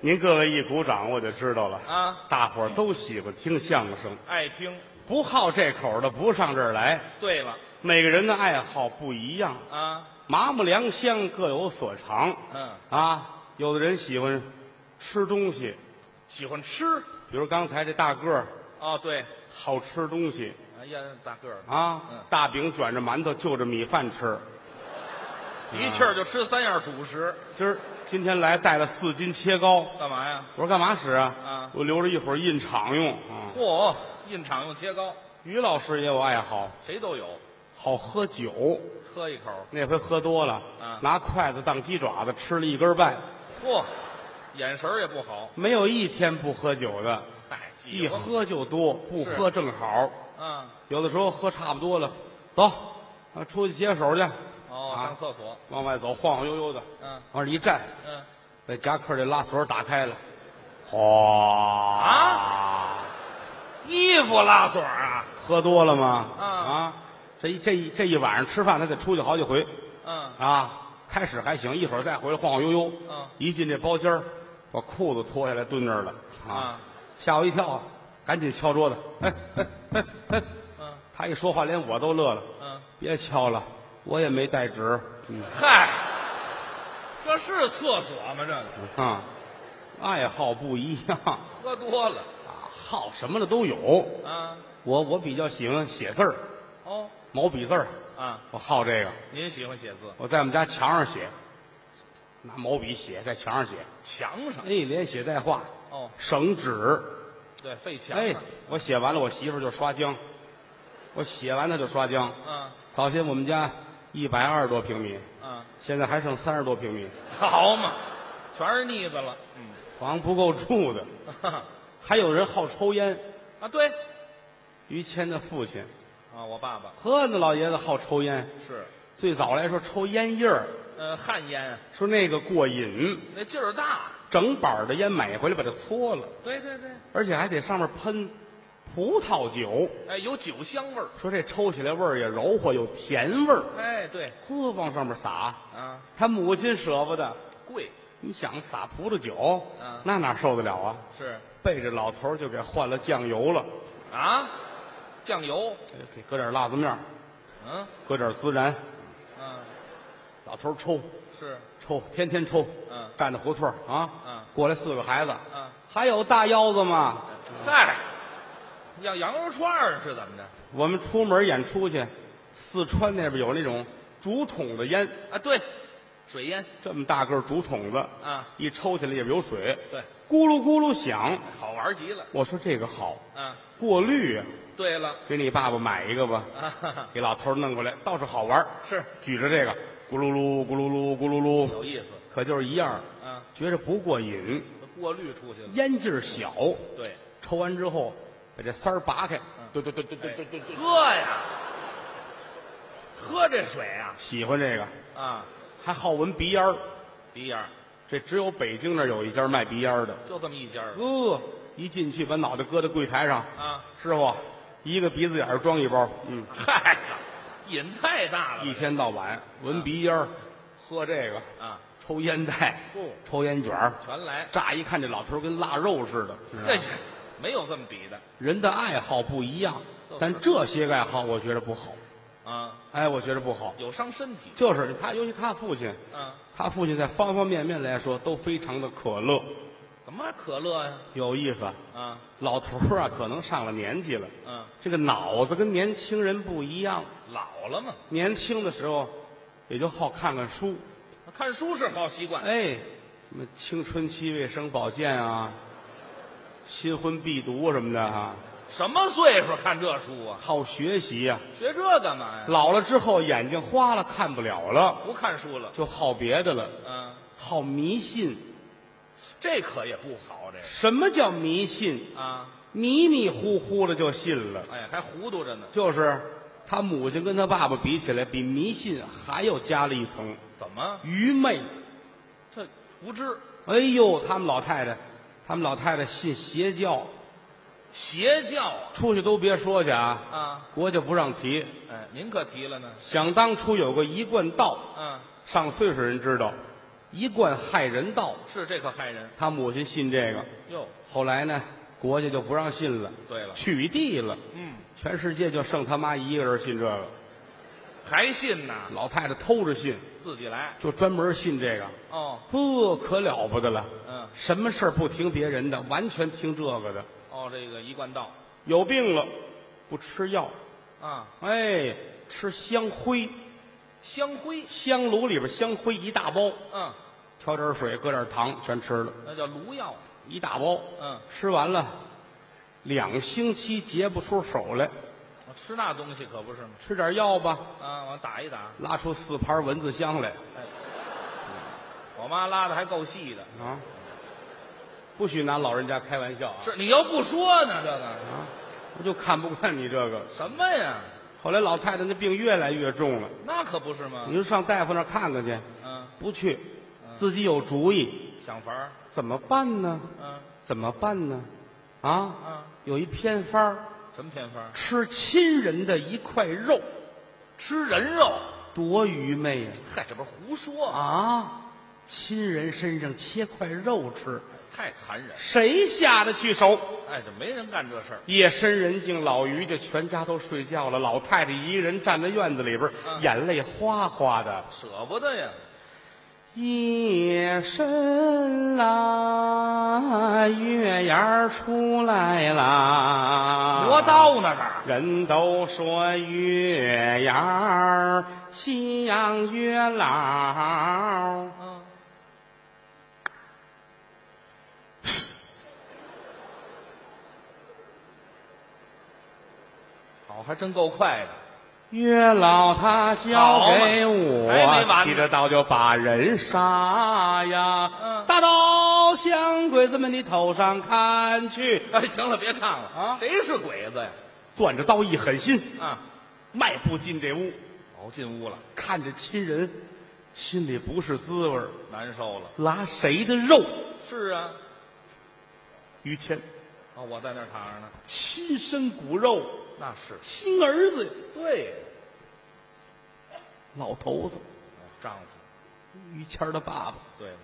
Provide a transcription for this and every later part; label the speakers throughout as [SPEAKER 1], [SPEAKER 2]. [SPEAKER 1] 您各位一鼓掌，我就知道了
[SPEAKER 2] 啊
[SPEAKER 1] 大伙儿都喜欢听相声，
[SPEAKER 2] 爱听。
[SPEAKER 1] 不好这口的不上这儿来。
[SPEAKER 2] 对了
[SPEAKER 1] 每个人的爱好不一样，
[SPEAKER 2] 啊，
[SPEAKER 1] 麻木良乡各有所长。
[SPEAKER 2] 嗯，
[SPEAKER 1] 啊，有的人喜欢吃东西，
[SPEAKER 2] 喜欢吃。
[SPEAKER 1] 比如刚才这大个儿
[SPEAKER 2] 哦，对，
[SPEAKER 1] 好吃东西
[SPEAKER 2] 哎呀，大个儿的，
[SPEAKER 1] 啊，
[SPEAKER 2] 嗯
[SPEAKER 1] 大饼卷着馒头就着米饭吃。
[SPEAKER 2] 一气儿就吃三样主食，
[SPEAKER 1] 啊今儿今天来带了四斤切糕，
[SPEAKER 2] 干嘛呀？
[SPEAKER 1] 我说干嘛使啊？
[SPEAKER 2] 啊
[SPEAKER 1] 我留着一会儿印厂用。啊
[SPEAKER 2] 嚯，印厂用切糕，
[SPEAKER 1] 于老师也有爱好，
[SPEAKER 2] 谁都有，
[SPEAKER 1] 好喝酒。
[SPEAKER 2] 喝一口。
[SPEAKER 1] 那回喝多了，
[SPEAKER 2] 啊
[SPEAKER 1] 拿筷子当鸡爪子吃了一根半，
[SPEAKER 2] 嚯，眼神儿也不好。
[SPEAKER 1] 没有一天不喝酒的，
[SPEAKER 2] 嗨，
[SPEAKER 1] 一
[SPEAKER 2] 喜欢。
[SPEAKER 1] 喝就多，不
[SPEAKER 2] 是
[SPEAKER 1] 喝正好。
[SPEAKER 2] 嗯，
[SPEAKER 1] 有的时候喝差不多了，走，啊，出去洗手去。
[SPEAKER 2] 哦，
[SPEAKER 1] 啊
[SPEAKER 2] 上厕所。
[SPEAKER 1] 往外走，晃晃悠悠的，
[SPEAKER 2] 嗯
[SPEAKER 1] 往这一站，
[SPEAKER 2] 嗯，
[SPEAKER 1] 把夹克这拉锁打开了，哗
[SPEAKER 2] 啊！衣服拉锁啊。
[SPEAKER 1] 喝多了吗？
[SPEAKER 2] 啊
[SPEAKER 1] 这一这一这一晚上吃饭，他得出去好几回
[SPEAKER 2] 嗯
[SPEAKER 1] 啊。开始还行，一会儿再回来晃晃悠悠。
[SPEAKER 2] 嗯
[SPEAKER 1] 一进这包间儿，把裤子脱下来蹲那儿了
[SPEAKER 2] 啊，
[SPEAKER 1] 吓我一跳，赶紧敲桌子。哎哎哎哎！
[SPEAKER 2] 嗯
[SPEAKER 1] 他一说话，连我都乐了。
[SPEAKER 2] 嗯，
[SPEAKER 1] 别敲了，我也没带纸。嗯
[SPEAKER 2] 嗨，这是厕所吗？这个
[SPEAKER 1] 啊，爱好不一样，
[SPEAKER 2] 喝多了
[SPEAKER 1] 啊，好什么的都有。
[SPEAKER 2] 啊。
[SPEAKER 1] 我我比较喜欢写字儿，
[SPEAKER 2] 哦
[SPEAKER 1] 毛笔字儿，
[SPEAKER 2] 啊，
[SPEAKER 1] 我好这个。
[SPEAKER 2] 您喜欢写字？
[SPEAKER 1] 我在我们家墙上写，拿毛笔写，在墙上写，
[SPEAKER 2] 墙上
[SPEAKER 1] 哎，连写带画，
[SPEAKER 2] 哦，
[SPEAKER 1] 省纸。
[SPEAKER 2] 对，费墙
[SPEAKER 1] 哎
[SPEAKER 2] 上。，
[SPEAKER 1] 我写完了，我媳妇儿就刷浆，我写完她就刷浆。
[SPEAKER 2] 嗯
[SPEAKER 1] 早先我们家一百二十多平米，
[SPEAKER 2] 嗯，
[SPEAKER 1] 现在还剩三十多平米，
[SPEAKER 2] 好嘛，全是腻子了。嗯，
[SPEAKER 1] 房不够住的。
[SPEAKER 2] 哈哈
[SPEAKER 1] 还有人好抽烟，
[SPEAKER 2] 啊对，
[SPEAKER 1] 于谦的父亲，
[SPEAKER 2] 啊我爸爸
[SPEAKER 1] 呵，那老爷子好抽烟。
[SPEAKER 2] 是，
[SPEAKER 1] 最早来说抽烟叶儿，
[SPEAKER 2] 呃旱烟
[SPEAKER 1] 说那个过瘾，
[SPEAKER 2] 那劲儿大。
[SPEAKER 1] 整板的烟买回来把它搓了，
[SPEAKER 2] 对对对，
[SPEAKER 1] 而且还得上面喷葡萄酒，
[SPEAKER 2] 哎有酒香味儿。
[SPEAKER 1] 说这抽起来味儿也柔和，有甜味儿，
[SPEAKER 2] 哎对，
[SPEAKER 1] 呵，往上面撒。
[SPEAKER 2] 啊
[SPEAKER 1] 他母亲舍不得，
[SPEAKER 2] 贵
[SPEAKER 1] 你想撒葡萄酒
[SPEAKER 2] 嗯，
[SPEAKER 1] 那哪受得了啊？
[SPEAKER 2] 是
[SPEAKER 1] 背着老头儿就给换了酱油了，
[SPEAKER 2] 啊，酱油，
[SPEAKER 1] 哎给搁点辣子面儿，
[SPEAKER 2] 嗯
[SPEAKER 1] 搁点孜然，
[SPEAKER 2] 嗯
[SPEAKER 1] 老头儿抽
[SPEAKER 2] 是，
[SPEAKER 1] 抽，天天抽，
[SPEAKER 2] 嗯
[SPEAKER 1] 蘸着胡同儿啊，
[SPEAKER 2] 嗯
[SPEAKER 1] 过来四个孩子，
[SPEAKER 2] 嗯
[SPEAKER 1] 还有大腰子吗？
[SPEAKER 2] 嗨，要羊肉串儿是怎么着？
[SPEAKER 1] 我们出门演出去，四川那边有那种竹筒的烟，
[SPEAKER 2] 啊对，水烟
[SPEAKER 1] 这么大个儿竹筒子，
[SPEAKER 2] 啊
[SPEAKER 1] 一抽起来里边有水，
[SPEAKER 2] 对，
[SPEAKER 1] 咕噜咕噜响。
[SPEAKER 2] 好玩极了。
[SPEAKER 1] 我说这个好，
[SPEAKER 2] 啊
[SPEAKER 1] 过滤啊，
[SPEAKER 2] 对了
[SPEAKER 1] 给你爸爸买一个吧，
[SPEAKER 2] 啊 哈哈
[SPEAKER 1] 给老头儿弄过来，倒是好玩儿。
[SPEAKER 2] 是
[SPEAKER 1] 举着这个，咕噜噜，咕噜噜，咕噜噜，
[SPEAKER 2] 有意思。
[SPEAKER 1] 可就是一样儿，
[SPEAKER 2] 啊，
[SPEAKER 1] 觉着不过瘾，
[SPEAKER 2] 过滤出去了。
[SPEAKER 1] 烟劲儿小。
[SPEAKER 2] 对，
[SPEAKER 1] 抽完之后，把这塞儿拔开，
[SPEAKER 2] 嗯哎
[SPEAKER 1] 对对对对对对对对，
[SPEAKER 2] 喝呀，喝这水啊，
[SPEAKER 1] 喜欢这个，
[SPEAKER 2] 啊，
[SPEAKER 1] 还好闻鼻烟儿。
[SPEAKER 2] 鼻眼儿
[SPEAKER 1] 这只有北京那儿有一家卖鼻烟儿的。
[SPEAKER 2] 就这么一家儿
[SPEAKER 1] 呃，一进去把脑袋搁在柜台上，
[SPEAKER 2] 啊。
[SPEAKER 1] 师傅，一个鼻子眼儿装一包，嗯，
[SPEAKER 2] 嗨，瘾太大了
[SPEAKER 1] 一
[SPEAKER 2] 吧
[SPEAKER 1] 天到晚闻鼻烟儿，喝这个，
[SPEAKER 2] 啊，
[SPEAKER 1] 抽烟袋
[SPEAKER 2] 哦，
[SPEAKER 1] 抽烟卷儿，
[SPEAKER 2] 全来。
[SPEAKER 1] 乍一看这老头儿跟腊肉似的。是吧啊
[SPEAKER 2] 这没有这么比的
[SPEAKER 1] 人的爱好不一样
[SPEAKER 2] 都，是
[SPEAKER 1] 但这些爱好我觉得不好，
[SPEAKER 2] 啊，
[SPEAKER 1] 哎，我觉得不好。
[SPEAKER 2] 有伤身体。
[SPEAKER 1] 就是他，尤其他父亲，
[SPEAKER 2] 啊，
[SPEAKER 1] 他父亲在方方面面来说都非常的可乐，
[SPEAKER 2] 怎么可乐呀？
[SPEAKER 1] 有意思啊。
[SPEAKER 2] 啊，
[SPEAKER 1] 老头儿啊，可能上了年纪了，
[SPEAKER 2] 嗯，
[SPEAKER 1] 这个脑子跟年轻人不一样。
[SPEAKER 2] 老了嘛，
[SPEAKER 1] 年轻的时候也就好看看书，
[SPEAKER 2] 看书是好习惯。
[SPEAKER 1] 哎，什么青春期卫生保健啊，新婚必读什么的啊，
[SPEAKER 2] 什么岁数看这书啊？
[SPEAKER 1] 好学习呀、
[SPEAKER 2] 学这干嘛呀？
[SPEAKER 1] 老了之后眼睛花了，看不了了，
[SPEAKER 2] 不看书了。
[SPEAKER 1] 就好别的了，
[SPEAKER 2] 嗯，
[SPEAKER 1] 好迷信。
[SPEAKER 2] 这可也不好，这
[SPEAKER 1] 什么叫迷信？
[SPEAKER 2] 个啊，
[SPEAKER 1] 迷迷糊糊的就信了，
[SPEAKER 2] 哎，还糊涂着呢。
[SPEAKER 1] 就是他母亲跟他爸爸比起来，比迷信还要加了一层
[SPEAKER 2] 怎么？
[SPEAKER 1] 愚昧。
[SPEAKER 2] 这无知
[SPEAKER 1] 哎呦，他们老太太，他们老太太信邪教，
[SPEAKER 2] 邪教啊
[SPEAKER 1] 出去都别说去啊，
[SPEAKER 2] 啊！
[SPEAKER 1] 国家不让提。
[SPEAKER 2] 哎，您可提了呢。
[SPEAKER 1] 想当初有个一贯道，
[SPEAKER 2] 啊，
[SPEAKER 1] 上岁数人知道，一贯害人道。
[SPEAKER 2] 是这可害人
[SPEAKER 1] 他母亲信这个，
[SPEAKER 2] 哟。
[SPEAKER 1] 后来呢，国家就不让信了，
[SPEAKER 2] 对了，
[SPEAKER 1] 取缔了，
[SPEAKER 2] 嗯，
[SPEAKER 1] 全世界就剩他妈一个人信这个。
[SPEAKER 2] 还信呐，
[SPEAKER 1] 老太太偷着信，
[SPEAKER 2] 自己来
[SPEAKER 1] 就专门信这个，
[SPEAKER 2] 哦，
[SPEAKER 1] 呵，可了不得了。
[SPEAKER 2] 嗯，
[SPEAKER 1] 什么事儿不听别人的，完全听这个的。
[SPEAKER 2] 哦，这个一贯道
[SPEAKER 1] 有病了，不吃药，
[SPEAKER 2] 啊，
[SPEAKER 1] 哎，吃香灰，
[SPEAKER 2] 香灰，
[SPEAKER 1] 香炉里边香灰一大包，
[SPEAKER 2] 嗯，
[SPEAKER 1] 挑点水，搁点糖，全吃了，
[SPEAKER 2] 那叫炉药，
[SPEAKER 1] 一大包。
[SPEAKER 2] 嗯，
[SPEAKER 1] 吃完了，两星期结不出手来，
[SPEAKER 2] 我吃那东西可不是吗？
[SPEAKER 1] 吃点药吧，
[SPEAKER 2] 啊，往打一打，
[SPEAKER 1] 拉出四盘蚊子香来
[SPEAKER 2] 哎，我妈拉的还够细的，
[SPEAKER 1] 啊！不许拿老人家开玩笑啊！
[SPEAKER 2] 是你又不说呢，这个
[SPEAKER 1] 啊，我就看不惯你这个。
[SPEAKER 2] 什么呀？
[SPEAKER 1] 后来老太太那病越来越重了，
[SPEAKER 2] 那可不是吗
[SPEAKER 1] 你？就上大夫那儿看看去，
[SPEAKER 2] 嗯，
[SPEAKER 1] 不去，
[SPEAKER 2] 嗯
[SPEAKER 1] 自己有主意，
[SPEAKER 2] 想法儿，
[SPEAKER 1] 怎么办呢？
[SPEAKER 2] 嗯
[SPEAKER 1] 怎么办呢？啊，
[SPEAKER 2] 嗯，
[SPEAKER 1] 有一偏方儿，
[SPEAKER 2] 什么偏方儿？
[SPEAKER 1] 吃亲人的一块肉，
[SPEAKER 2] 吃人肉？
[SPEAKER 1] 多愚昧呀、
[SPEAKER 2] 嗨，这不是胡说啊！
[SPEAKER 1] 啊，亲人身上切块肉吃，
[SPEAKER 2] 太残忍，
[SPEAKER 1] 谁下得去手？
[SPEAKER 2] 哎，这没人干这事儿。
[SPEAKER 1] 夜深人静，老于家全家都睡觉了，老太太一个人站在院子里边，
[SPEAKER 2] 嗯
[SPEAKER 1] 眼泪哗哗的。
[SPEAKER 2] 舍不得呀，
[SPEAKER 1] 夜深啦，月牙儿出来啦，
[SPEAKER 2] 磨刀呢这儿
[SPEAKER 1] 人都说月牙儿西洋月老，
[SPEAKER 2] 嗯， 好，还真够快的。
[SPEAKER 1] 月老他交给
[SPEAKER 2] 好嘛还没
[SPEAKER 1] 我，
[SPEAKER 2] 完呢
[SPEAKER 1] 提着刀就把人杀呀！
[SPEAKER 2] 嗯
[SPEAKER 1] 大刀向鬼子们的头上砍去，
[SPEAKER 2] 哎，行了，别看了
[SPEAKER 1] 啊
[SPEAKER 2] 谁是鬼子呀？
[SPEAKER 1] 攥着刀一狠心，
[SPEAKER 2] 啊，
[SPEAKER 1] 迈步进这屋，
[SPEAKER 2] 哦，进屋了，
[SPEAKER 1] 看着亲人，心里不是滋味儿
[SPEAKER 2] 难受了。
[SPEAKER 1] 拉谁的肉？
[SPEAKER 2] 是啊，
[SPEAKER 1] 于谦，
[SPEAKER 2] 哦，我在那儿躺着呢。
[SPEAKER 1] 亲生骨肉，
[SPEAKER 2] 那是
[SPEAKER 1] 亲儿子，
[SPEAKER 2] 对，
[SPEAKER 1] 老头子，
[SPEAKER 2] 哦丈夫
[SPEAKER 1] 于谦儿的爸爸，
[SPEAKER 2] 对了，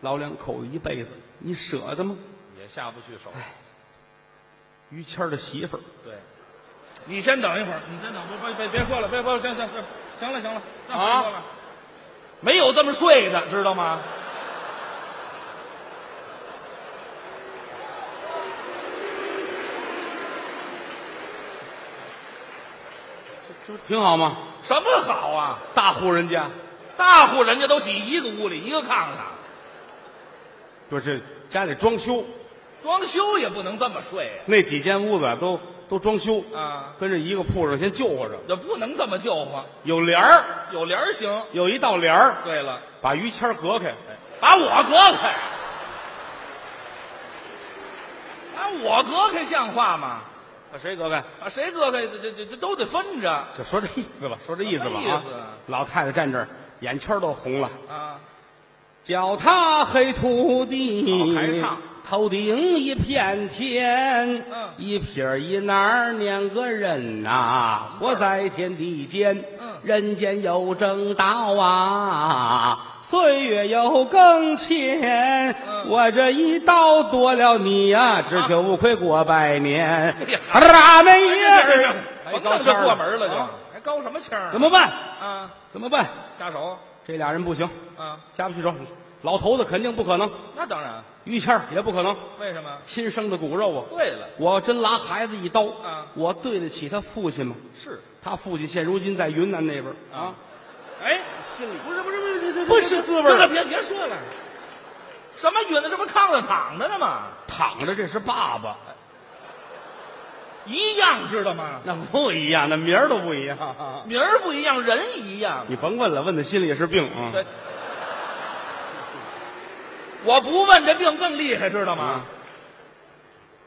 [SPEAKER 1] 老两口子一辈子，你舍得吗？
[SPEAKER 2] 也下不去手。
[SPEAKER 1] 于谦儿的媳妇儿，
[SPEAKER 2] 对，你先等一会儿，你先等，别别别说了，别别行行行，行了行了，那不
[SPEAKER 1] 啊
[SPEAKER 2] 说了，没有这么睡的，知道吗？
[SPEAKER 1] 这不挺好吗？
[SPEAKER 2] 什么好啊？
[SPEAKER 1] 大户人家，
[SPEAKER 2] 大户人家都挤一个屋里，一个炕上，
[SPEAKER 1] 不是家里装修，
[SPEAKER 2] 装修也不能这么睡
[SPEAKER 1] 那几间屋子啊都都装修，
[SPEAKER 2] 啊！啊，
[SPEAKER 1] 跟着一个铺上先救活着，
[SPEAKER 2] 这不能这么救活，
[SPEAKER 1] 有帘儿，
[SPEAKER 2] 有帘儿行。
[SPEAKER 1] 有一道帘儿
[SPEAKER 2] 对了，
[SPEAKER 1] 把于谦儿隔开，哎
[SPEAKER 2] 把我隔开，把我隔开像话吗？
[SPEAKER 1] 把谁隔开？
[SPEAKER 2] 把谁隔开？这这这这都得分着
[SPEAKER 1] 就说这意思吧，说这意思吧
[SPEAKER 2] 什么
[SPEAKER 1] 啊
[SPEAKER 2] 意思啊！
[SPEAKER 1] 老太太站这儿，眼圈都红了，
[SPEAKER 2] 啊！
[SPEAKER 1] 脚踏黑土地，
[SPEAKER 2] 好还唱
[SPEAKER 1] 头顶一片天，
[SPEAKER 2] 嗯
[SPEAKER 1] 一撇儿一捺儿两个人呐、活在天地间，
[SPEAKER 2] 嗯
[SPEAKER 1] 人间有正道啊，岁月有更迁，
[SPEAKER 2] 嗯
[SPEAKER 1] 我这一刀夺了你呀、只
[SPEAKER 2] 啊
[SPEAKER 1] 求无愧过百年
[SPEAKER 2] 呀，
[SPEAKER 1] 大
[SPEAKER 2] 哎
[SPEAKER 1] 妹
[SPEAKER 2] 这
[SPEAKER 1] 儿
[SPEAKER 2] 这，
[SPEAKER 1] 哎
[SPEAKER 2] 甭
[SPEAKER 1] 高腔
[SPEAKER 2] 弄这
[SPEAKER 1] 儿
[SPEAKER 2] 过门了就，
[SPEAKER 1] 啊
[SPEAKER 2] 还高什么腔儿？
[SPEAKER 1] 怎么办？
[SPEAKER 2] 啊？
[SPEAKER 1] 怎么办？
[SPEAKER 2] 下手
[SPEAKER 1] 这俩人不行，
[SPEAKER 2] 啊？
[SPEAKER 1] 下不去手。老头子肯定不可能，
[SPEAKER 2] 那当然，
[SPEAKER 1] 于谦儿也不可能，
[SPEAKER 2] 为什么？
[SPEAKER 1] 亲生的骨肉啊！
[SPEAKER 2] 对了，
[SPEAKER 1] 我要真拉孩子一刀，
[SPEAKER 2] 啊
[SPEAKER 1] 我对得起他父亲吗？
[SPEAKER 2] 是
[SPEAKER 1] 他父亲现如今在云南那边
[SPEAKER 2] 啊，哎，
[SPEAKER 1] 心里
[SPEAKER 2] 不是不是不是这这
[SPEAKER 1] 不是滋味儿
[SPEAKER 2] 行了，别别说了，什么晕的，这不炕上躺着呢吗？
[SPEAKER 1] 啊躺着，这是爸爸，
[SPEAKER 2] 一样知道吗？
[SPEAKER 1] 那不一样，那名儿都不一
[SPEAKER 2] 啊
[SPEAKER 1] 样。
[SPEAKER 2] 名儿不一样，人一样。
[SPEAKER 1] 你甭问了，问他心里也是病啊。
[SPEAKER 2] 对，我不问这病更厉害，知道吗？
[SPEAKER 1] 啊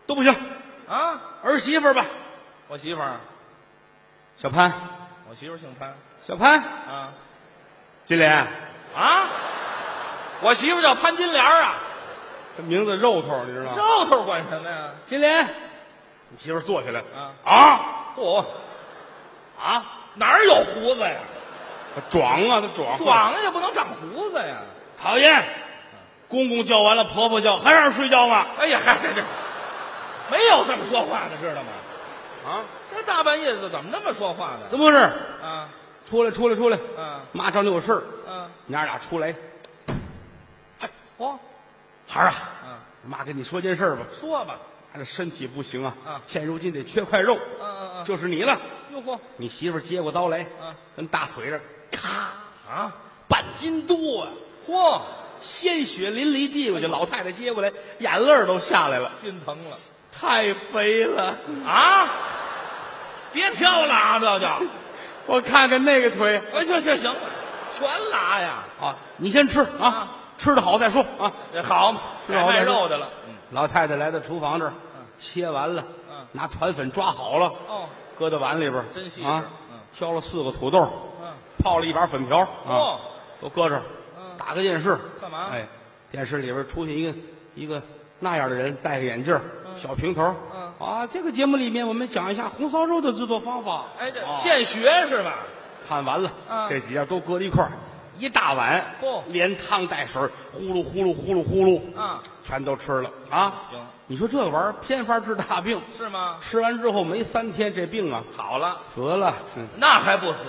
[SPEAKER 1] 都不行，
[SPEAKER 2] 啊，
[SPEAKER 1] 儿媳妇儿吧，
[SPEAKER 2] 我媳妇儿，
[SPEAKER 1] 小潘，
[SPEAKER 2] 我媳妇儿姓潘
[SPEAKER 1] 小潘，
[SPEAKER 2] 啊
[SPEAKER 1] 金莲，
[SPEAKER 2] 啊，我媳妇儿叫潘金莲儿啊，
[SPEAKER 1] 这名字肉头，你知道吗？
[SPEAKER 2] 肉头管什么呀？
[SPEAKER 1] 金莲，你媳妇儿坐起来
[SPEAKER 2] 啊
[SPEAKER 1] 啊
[SPEAKER 2] 嚯，
[SPEAKER 1] 啊，
[SPEAKER 2] 哪儿有胡子呀？
[SPEAKER 1] 她壮啊，他壮，
[SPEAKER 2] 壮也不能长胡子呀。
[SPEAKER 1] 讨厌！公公叫完了，婆婆叫，还让人睡觉吗？
[SPEAKER 2] 哎呀，嗨，这这没有这么说话的，知道吗？
[SPEAKER 1] 啊，
[SPEAKER 2] 这大半夜的怎么那么说话呢？
[SPEAKER 1] 怎么回事？
[SPEAKER 2] 啊
[SPEAKER 1] 出来，出来，出来！
[SPEAKER 2] 啊
[SPEAKER 1] 妈找你有事儿，
[SPEAKER 2] 啊！
[SPEAKER 1] 娘俩出来。
[SPEAKER 2] 嚯，
[SPEAKER 1] 孩儿啊，
[SPEAKER 2] 啊，
[SPEAKER 1] 妈跟你说件事儿吧，
[SPEAKER 2] 说吧，
[SPEAKER 1] 妈这身体不行啊，
[SPEAKER 2] 啊
[SPEAKER 1] 现如今得缺块肉，
[SPEAKER 2] 嗯嗯嗯，
[SPEAKER 1] 啊就是你了。
[SPEAKER 2] 哟嚯，
[SPEAKER 1] 你媳妇儿接过刀来，
[SPEAKER 2] 啊
[SPEAKER 1] 跟大腿这儿咔，
[SPEAKER 2] 啊，
[SPEAKER 1] 半斤多啊，
[SPEAKER 2] 嚯，
[SPEAKER 1] 鲜血淋漓地过去。老太太接过来，眼泪儿都下来了，
[SPEAKER 2] 心疼了
[SPEAKER 1] 太肥了。
[SPEAKER 2] 啊！别挑了 啊，这就，
[SPEAKER 1] 我看看那个腿
[SPEAKER 2] 哎，这这行了，全拉呀，
[SPEAKER 1] 啊，你先吃啊，
[SPEAKER 2] 啊
[SPEAKER 1] 吃的好再说啊。
[SPEAKER 2] 这好嘛，
[SPEAKER 1] 吃
[SPEAKER 2] 改
[SPEAKER 1] 好
[SPEAKER 2] 卖
[SPEAKER 1] 再说
[SPEAKER 2] 肉的了，嗯，
[SPEAKER 1] 老太太来到厨房这儿
[SPEAKER 2] 嗯，
[SPEAKER 1] 切完了
[SPEAKER 2] 嗯，
[SPEAKER 1] 拿团粉抓好了，
[SPEAKER 2] 哦，
[SPEAKER 1] 搁到碗里边儿，
[SPEAKER 2] 真细致
[SPEAKER 1] 啊
[SPEAKER 2] 嗯！
[SPEAKER 1] 挑了四个土豆，
[SPEAKER 2] 嗯，
[SPEAKER 1] 泡了一把粉条，啊
[SPEAKER 2] 哦，
[SPEAKER 1] 都搁这儿
[SPEAKER 2] 嗯，
[SPEAKER 1] 打开电视，
[SPEAKER 2] 干嘛
[SPEAKER 1] 哎，电视里边出现一个一个那样的人，戴个眼镜儿，
[SPEAKER 2] 嗯
[SPEAKER 1] 小平头，
[SPEAKER 2] 嗯
[SPEAKER 1] 啊，这个节目里面我们讲一下红烧肉的制作方法。
[SPEAKER 2] 哎，这
[SPEAKER 1] 啊
[SPEAKER 2] 现学是吧？
[SPEAKER 1] 看完了，
[SPEAKER 2] 嗯
[SPEAKER 1] 这几样都搁在一块儿，一大碗，
[SPEAKER 2] 嚯
[SPEAKER 1] 连汤带水，呼噜呼噜呼噜呼噜，
[SPEAKER 2] 啊，
[SPEAKER 1] 全都吃了啊。
[SPEAKER 2] 行，
[SPEAKER 1] 你说这个玩意儿偏方治大病，
[SPEAKER 2] 是吗？
[SPEAKER 1] 吃完之后没三天，这病啊
[SPEAKER 2] 好了，啊
[SPEAKER 1] 死了。嗯，
[SPEAKER 2] 那还不死，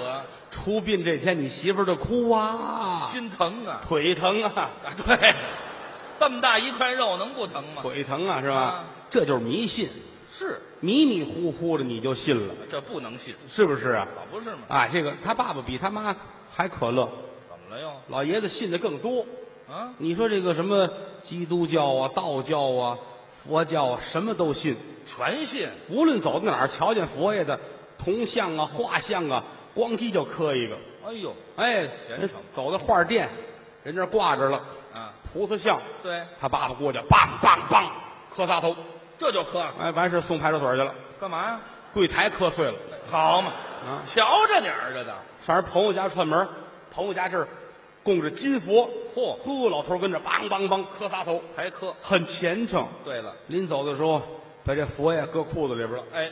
[SPEAKER 1] 出殡这天，你媳妇儿就哭啊，
[SPEAKER 2] 心疼啊！
[SPEAKER 1] 腿疼啊，
[SPEAKER 2] 啊，对， 这么大一块肉能不疼吗？
[SPEAKER 1] 腿疼啊，是吧
[SPEAKER 2] 啊？
[SPEAKER 1] 这就是迷信，
[SPEAKER 2] 是，
[SPEAKER 1] 迷迷糊糊的你就信了，
[SPEAKER 2] 这不能信，
[SPEAKER 1] 是不是啊？
[SPEAKER 2] 可不是吗？
[SPEAKER 1] 啊，这个他爸爸比他妈还可乐，
[SPEAKER 2] 怎么了又？
[SPEAKER 1] 老爷子信的更多。
[SPEAKER 2] 啊，
[SPEAKER 1] 你说这个什么基督教啊、道教啊、佛教啊，什么都信。
[SPEAKER 2] 全信，
[SPEAKER 1] 无论走到哪儿，瞧见佛爷的铜像啊、画像啊，咣叽就磕一个。
[SPEAKER 2] 哎呦，
[SPEAKER 1] 哎，
[SPEAKER 2] 虔
[SPEAKER 1] 人
[SPEAKER 2] 诚
[SPEAKER 1] 走到画店，人那儿挂着了
[SPEAKER 2] 啊，
[SPEAKER 1] 菩萨像，
[SPEAKER 2] 对，
[SPEAKER 1] 他爸爸过去，梆梆梆磕仨头。
[SPEAKER 2] 这就磕，
[SPEAKER 1] 哎，完事儿送派出所去了，
[SPEAKER 2] 干嘛呀？
[SPEAKER 1] 柜台磕碎了。
[SPEAKER 2] 好嘛，
[SPEAKER 1] 啊，
[SPEAKER 2] 瞧着点儿这的，
[SPEAKER 1] 上人朋友家串门，朋友家这儿供着金佛，
[SPEAKER 2] 嚯
[SPEAKER 1] 呼，老头儿跟着梆梆梆磕仨头，
[SPEAKER 2] 还磕。
[SPEAKER 1] 很虔诚。
[SPEAKER 2] 对了，
[SPEAKER 1] 临走的时候，把这佛爷搁裤子里边了，
[SPEAKER 2] 哎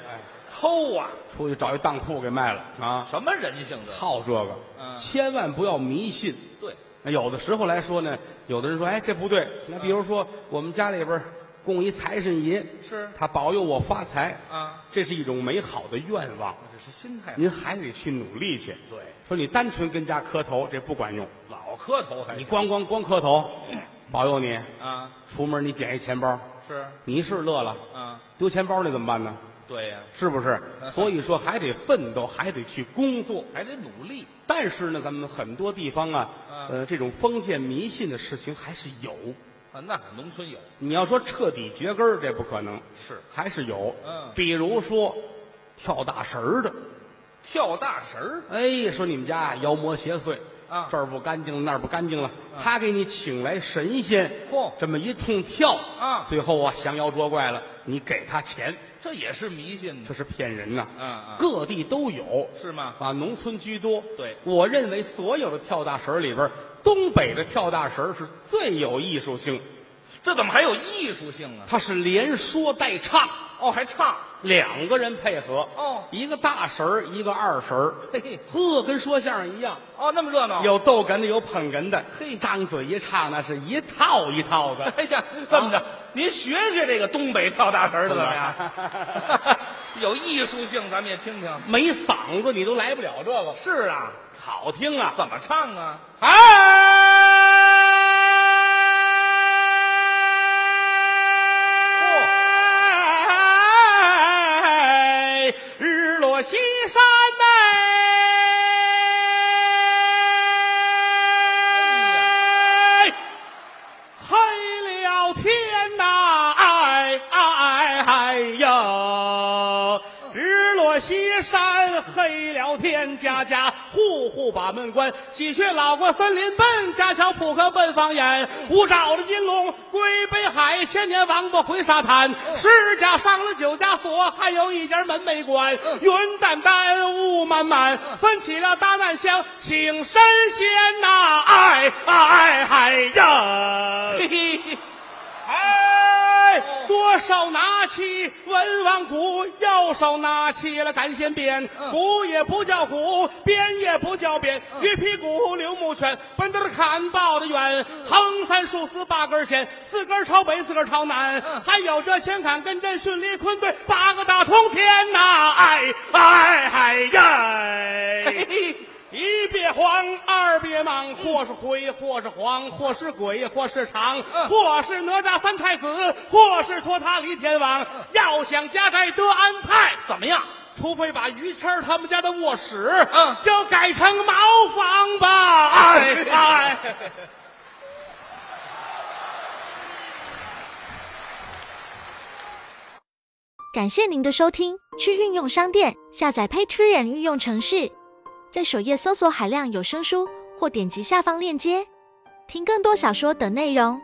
[SPEAKER 2] 偷啊，
[SPEAKER 1] 出去找一当铺给卖了啊！
[SPEAKER 2] 什么人性这？
[SPEAKER 1] 好这个，
[SPEAKER 2] 嗯
[SPEAKER 1] 千万不要迷信。
[SPEAKER 2] 对，
[SPEAKER 1] 那有的时候来说呢，有的人说，哎，这不对。
[SPEAKER 2] 嗯
[SPEAKER 1] 那比如说，我们家里边供一财神爷，
[SPEAKER 2] 是
[SPEAKER 1] 他保佑我发财，
[SPEAKER 2] 啊，
[SPEAKER 1] 这是一种美好的愿望。
[SPEAKER 2] 这是心态。
[SPEAKER 1] 您还得去努力去。
[SPEAKER 2] 对，
[SPEAKER 1] 说你单纯跟家磕头，这不管用。
[SPEAKER 2] 老磕头还
[SPEAKER 1] 你
[SPEAKER 2] 行
[SPEAKER 1] 光光光磕头，保佑你。
[SPEAKER 2] 啊？
[SPEAKER 1] 出门你捡一钱包，
[SPEAKER 2] 是
[SPEAKER 1] 你是乐了，
[SPEAKER 2] 啊，
[SPEAKER 1] 丢钱包那怎么办呢？
[SPEAKER 2] 对呀，
[SPEAKER 1] 是不 是？
[SPEAKER 2] 嗯
[SPEAKER 1] 所以说还得奋斗，还得去工作。
[SPEAKER 2] 还得努力。
[SPEAKER 1] 但是呢，咱们很多地方啊，
[SPEAKER 2] 嗯
[SPEAKER 1] 呃，这种封建迷信的事情还是有。
[SPEAKER 2] 啊，那农村有
[SPEAKER 1] 你要说彻底绝根儿，这不可能，
[SPEAKER 2] 是
[SPEAKER 1] 还是有。
[SPEAKER 2] 嗯
[SPEAKER 1] 比如说跳大神儿的，
[SPEAKER 2] 跳大神儿
[SPEAKER 1] 哎，说你们家妖魔邪祟
[SPEAKER 2] 啊
[SPEAKER 1] 这儿不干净了，那儿不干净了，
[SPEAKER 2] 嗯
[SPEAKER 1] 他给你请来神仙，
[SPEAKER 2] 嚯
[SPEAKER 1] 这么一通跳
[SPEAKER 2] 啊
[SPEAKER 1] 最后啊降妖捉怪了，你给他钱，
[SPEAKER 2] 这也是迷信
[SPEAKER 1] 这
[SPEAKER 2] 的，
[SPEAKER 1] 是骗人呐。
[SPEAKER 2] 嗯嗯，
[SPEAKER 1] 各地都有，
[SPEAKER 2] 是吗？
[SPEAKER 1] 啊，农村居多。
[SPEAKER 2] 对
[SPEAKER 1] 我认为所有的跳大神儿里边儿，东北的跳大神儿是最有艺术性，
[SPEAKER 2] 这怎么还有艺术性啊？
[SPEAKER 1] 它是连说带唱，
[SPEAKER 2] 哦，还唱
[SPEAKER 1] 两个人配合，
[SPEAKER 2] 哦
[SPEAKER 1] 一个大神儿，一个二神儿，
[SPEAKER 2] 嘿嘿
[SPEAKER 1] 呵，跟说相声一样，
[SPEAKER 2] 哦，那么热闹。
[SPEAKER 1] 有逗哏的，有捧哏的，
[SPEAKER 2] 嘿
[SPEAKER 1] 张嘴一唱，那是一套一套的。
[SPEAKER 2] 哎呀，这么着，您学学这个东北跳大神儿的怎么样？有艺术性，咱们也听听。
[SPEAKER 1] 没嗓子你都来不了这个，
[SPEAKER 2] 是啊，
[SPEAKER 1] 好听啊！
[SPEAKER 2] 怎么唱啊？
[SPEAKER 1] 哎，日落西山哎，黑了天呐，哎哎哎呀！日落西山，黑了天，家家户户把门关，喜鹊老过森林奔，家桥扑克奔房檐，五爪的金龙归北海，千年王八回沙滩，十家上了九家锁，还有一家门没关，云淡淡，雾漫漫，分起了大难香，请神仙呐、哎哎哎呀！
[SPEAKER 2] 嘿嘿，
[SPEAKER 1] 哎，做手拿起文王鼓，右手拿起了赶弦鞭，
[SPEAKER 2] 嗯
[SPEAKER 1] 鼓也不叫鼓，鞭也不叫鞭，
[SPEAKER 2] 嗯
[SPEAKER 1] 鱼皮鼓、刘木拳，奔都是砍抱的远，横三竖四八根弦，四根朝北，四根朝南，
[SPEAKER 2] 嗯
[SPEAKER 1] 还有这弦砍跟针顺列坤队八个大铜钱呐、哎哎哎呀！
[SPEAKER 2] 嘿
[SPEAKER 1] 一别黄，二别莽，或是灰，或是黄，或是鬼，或是长，
[SPEAKER 2] 嗯
[SPEAKER 1] 或是哪吒三太子，或是托塔李天
[SPEAKER 2] 嗯
[SPEAKER 1] 王。要想家宅得安泰，
[SPEAKER 2] 怎么样？
[SPEAKER 1] 除非把于谦儿他们家的卧室，
[SPEAKER 2] 嗯
[SPEAKER 1] 就改成茅房吧。哎哎，
[SPEAKER 3] 感谢您的收听，去运用商店下载 Patreon 运用城市，在首页搜索海量有声书，或点击下方链接听更多小说等内容。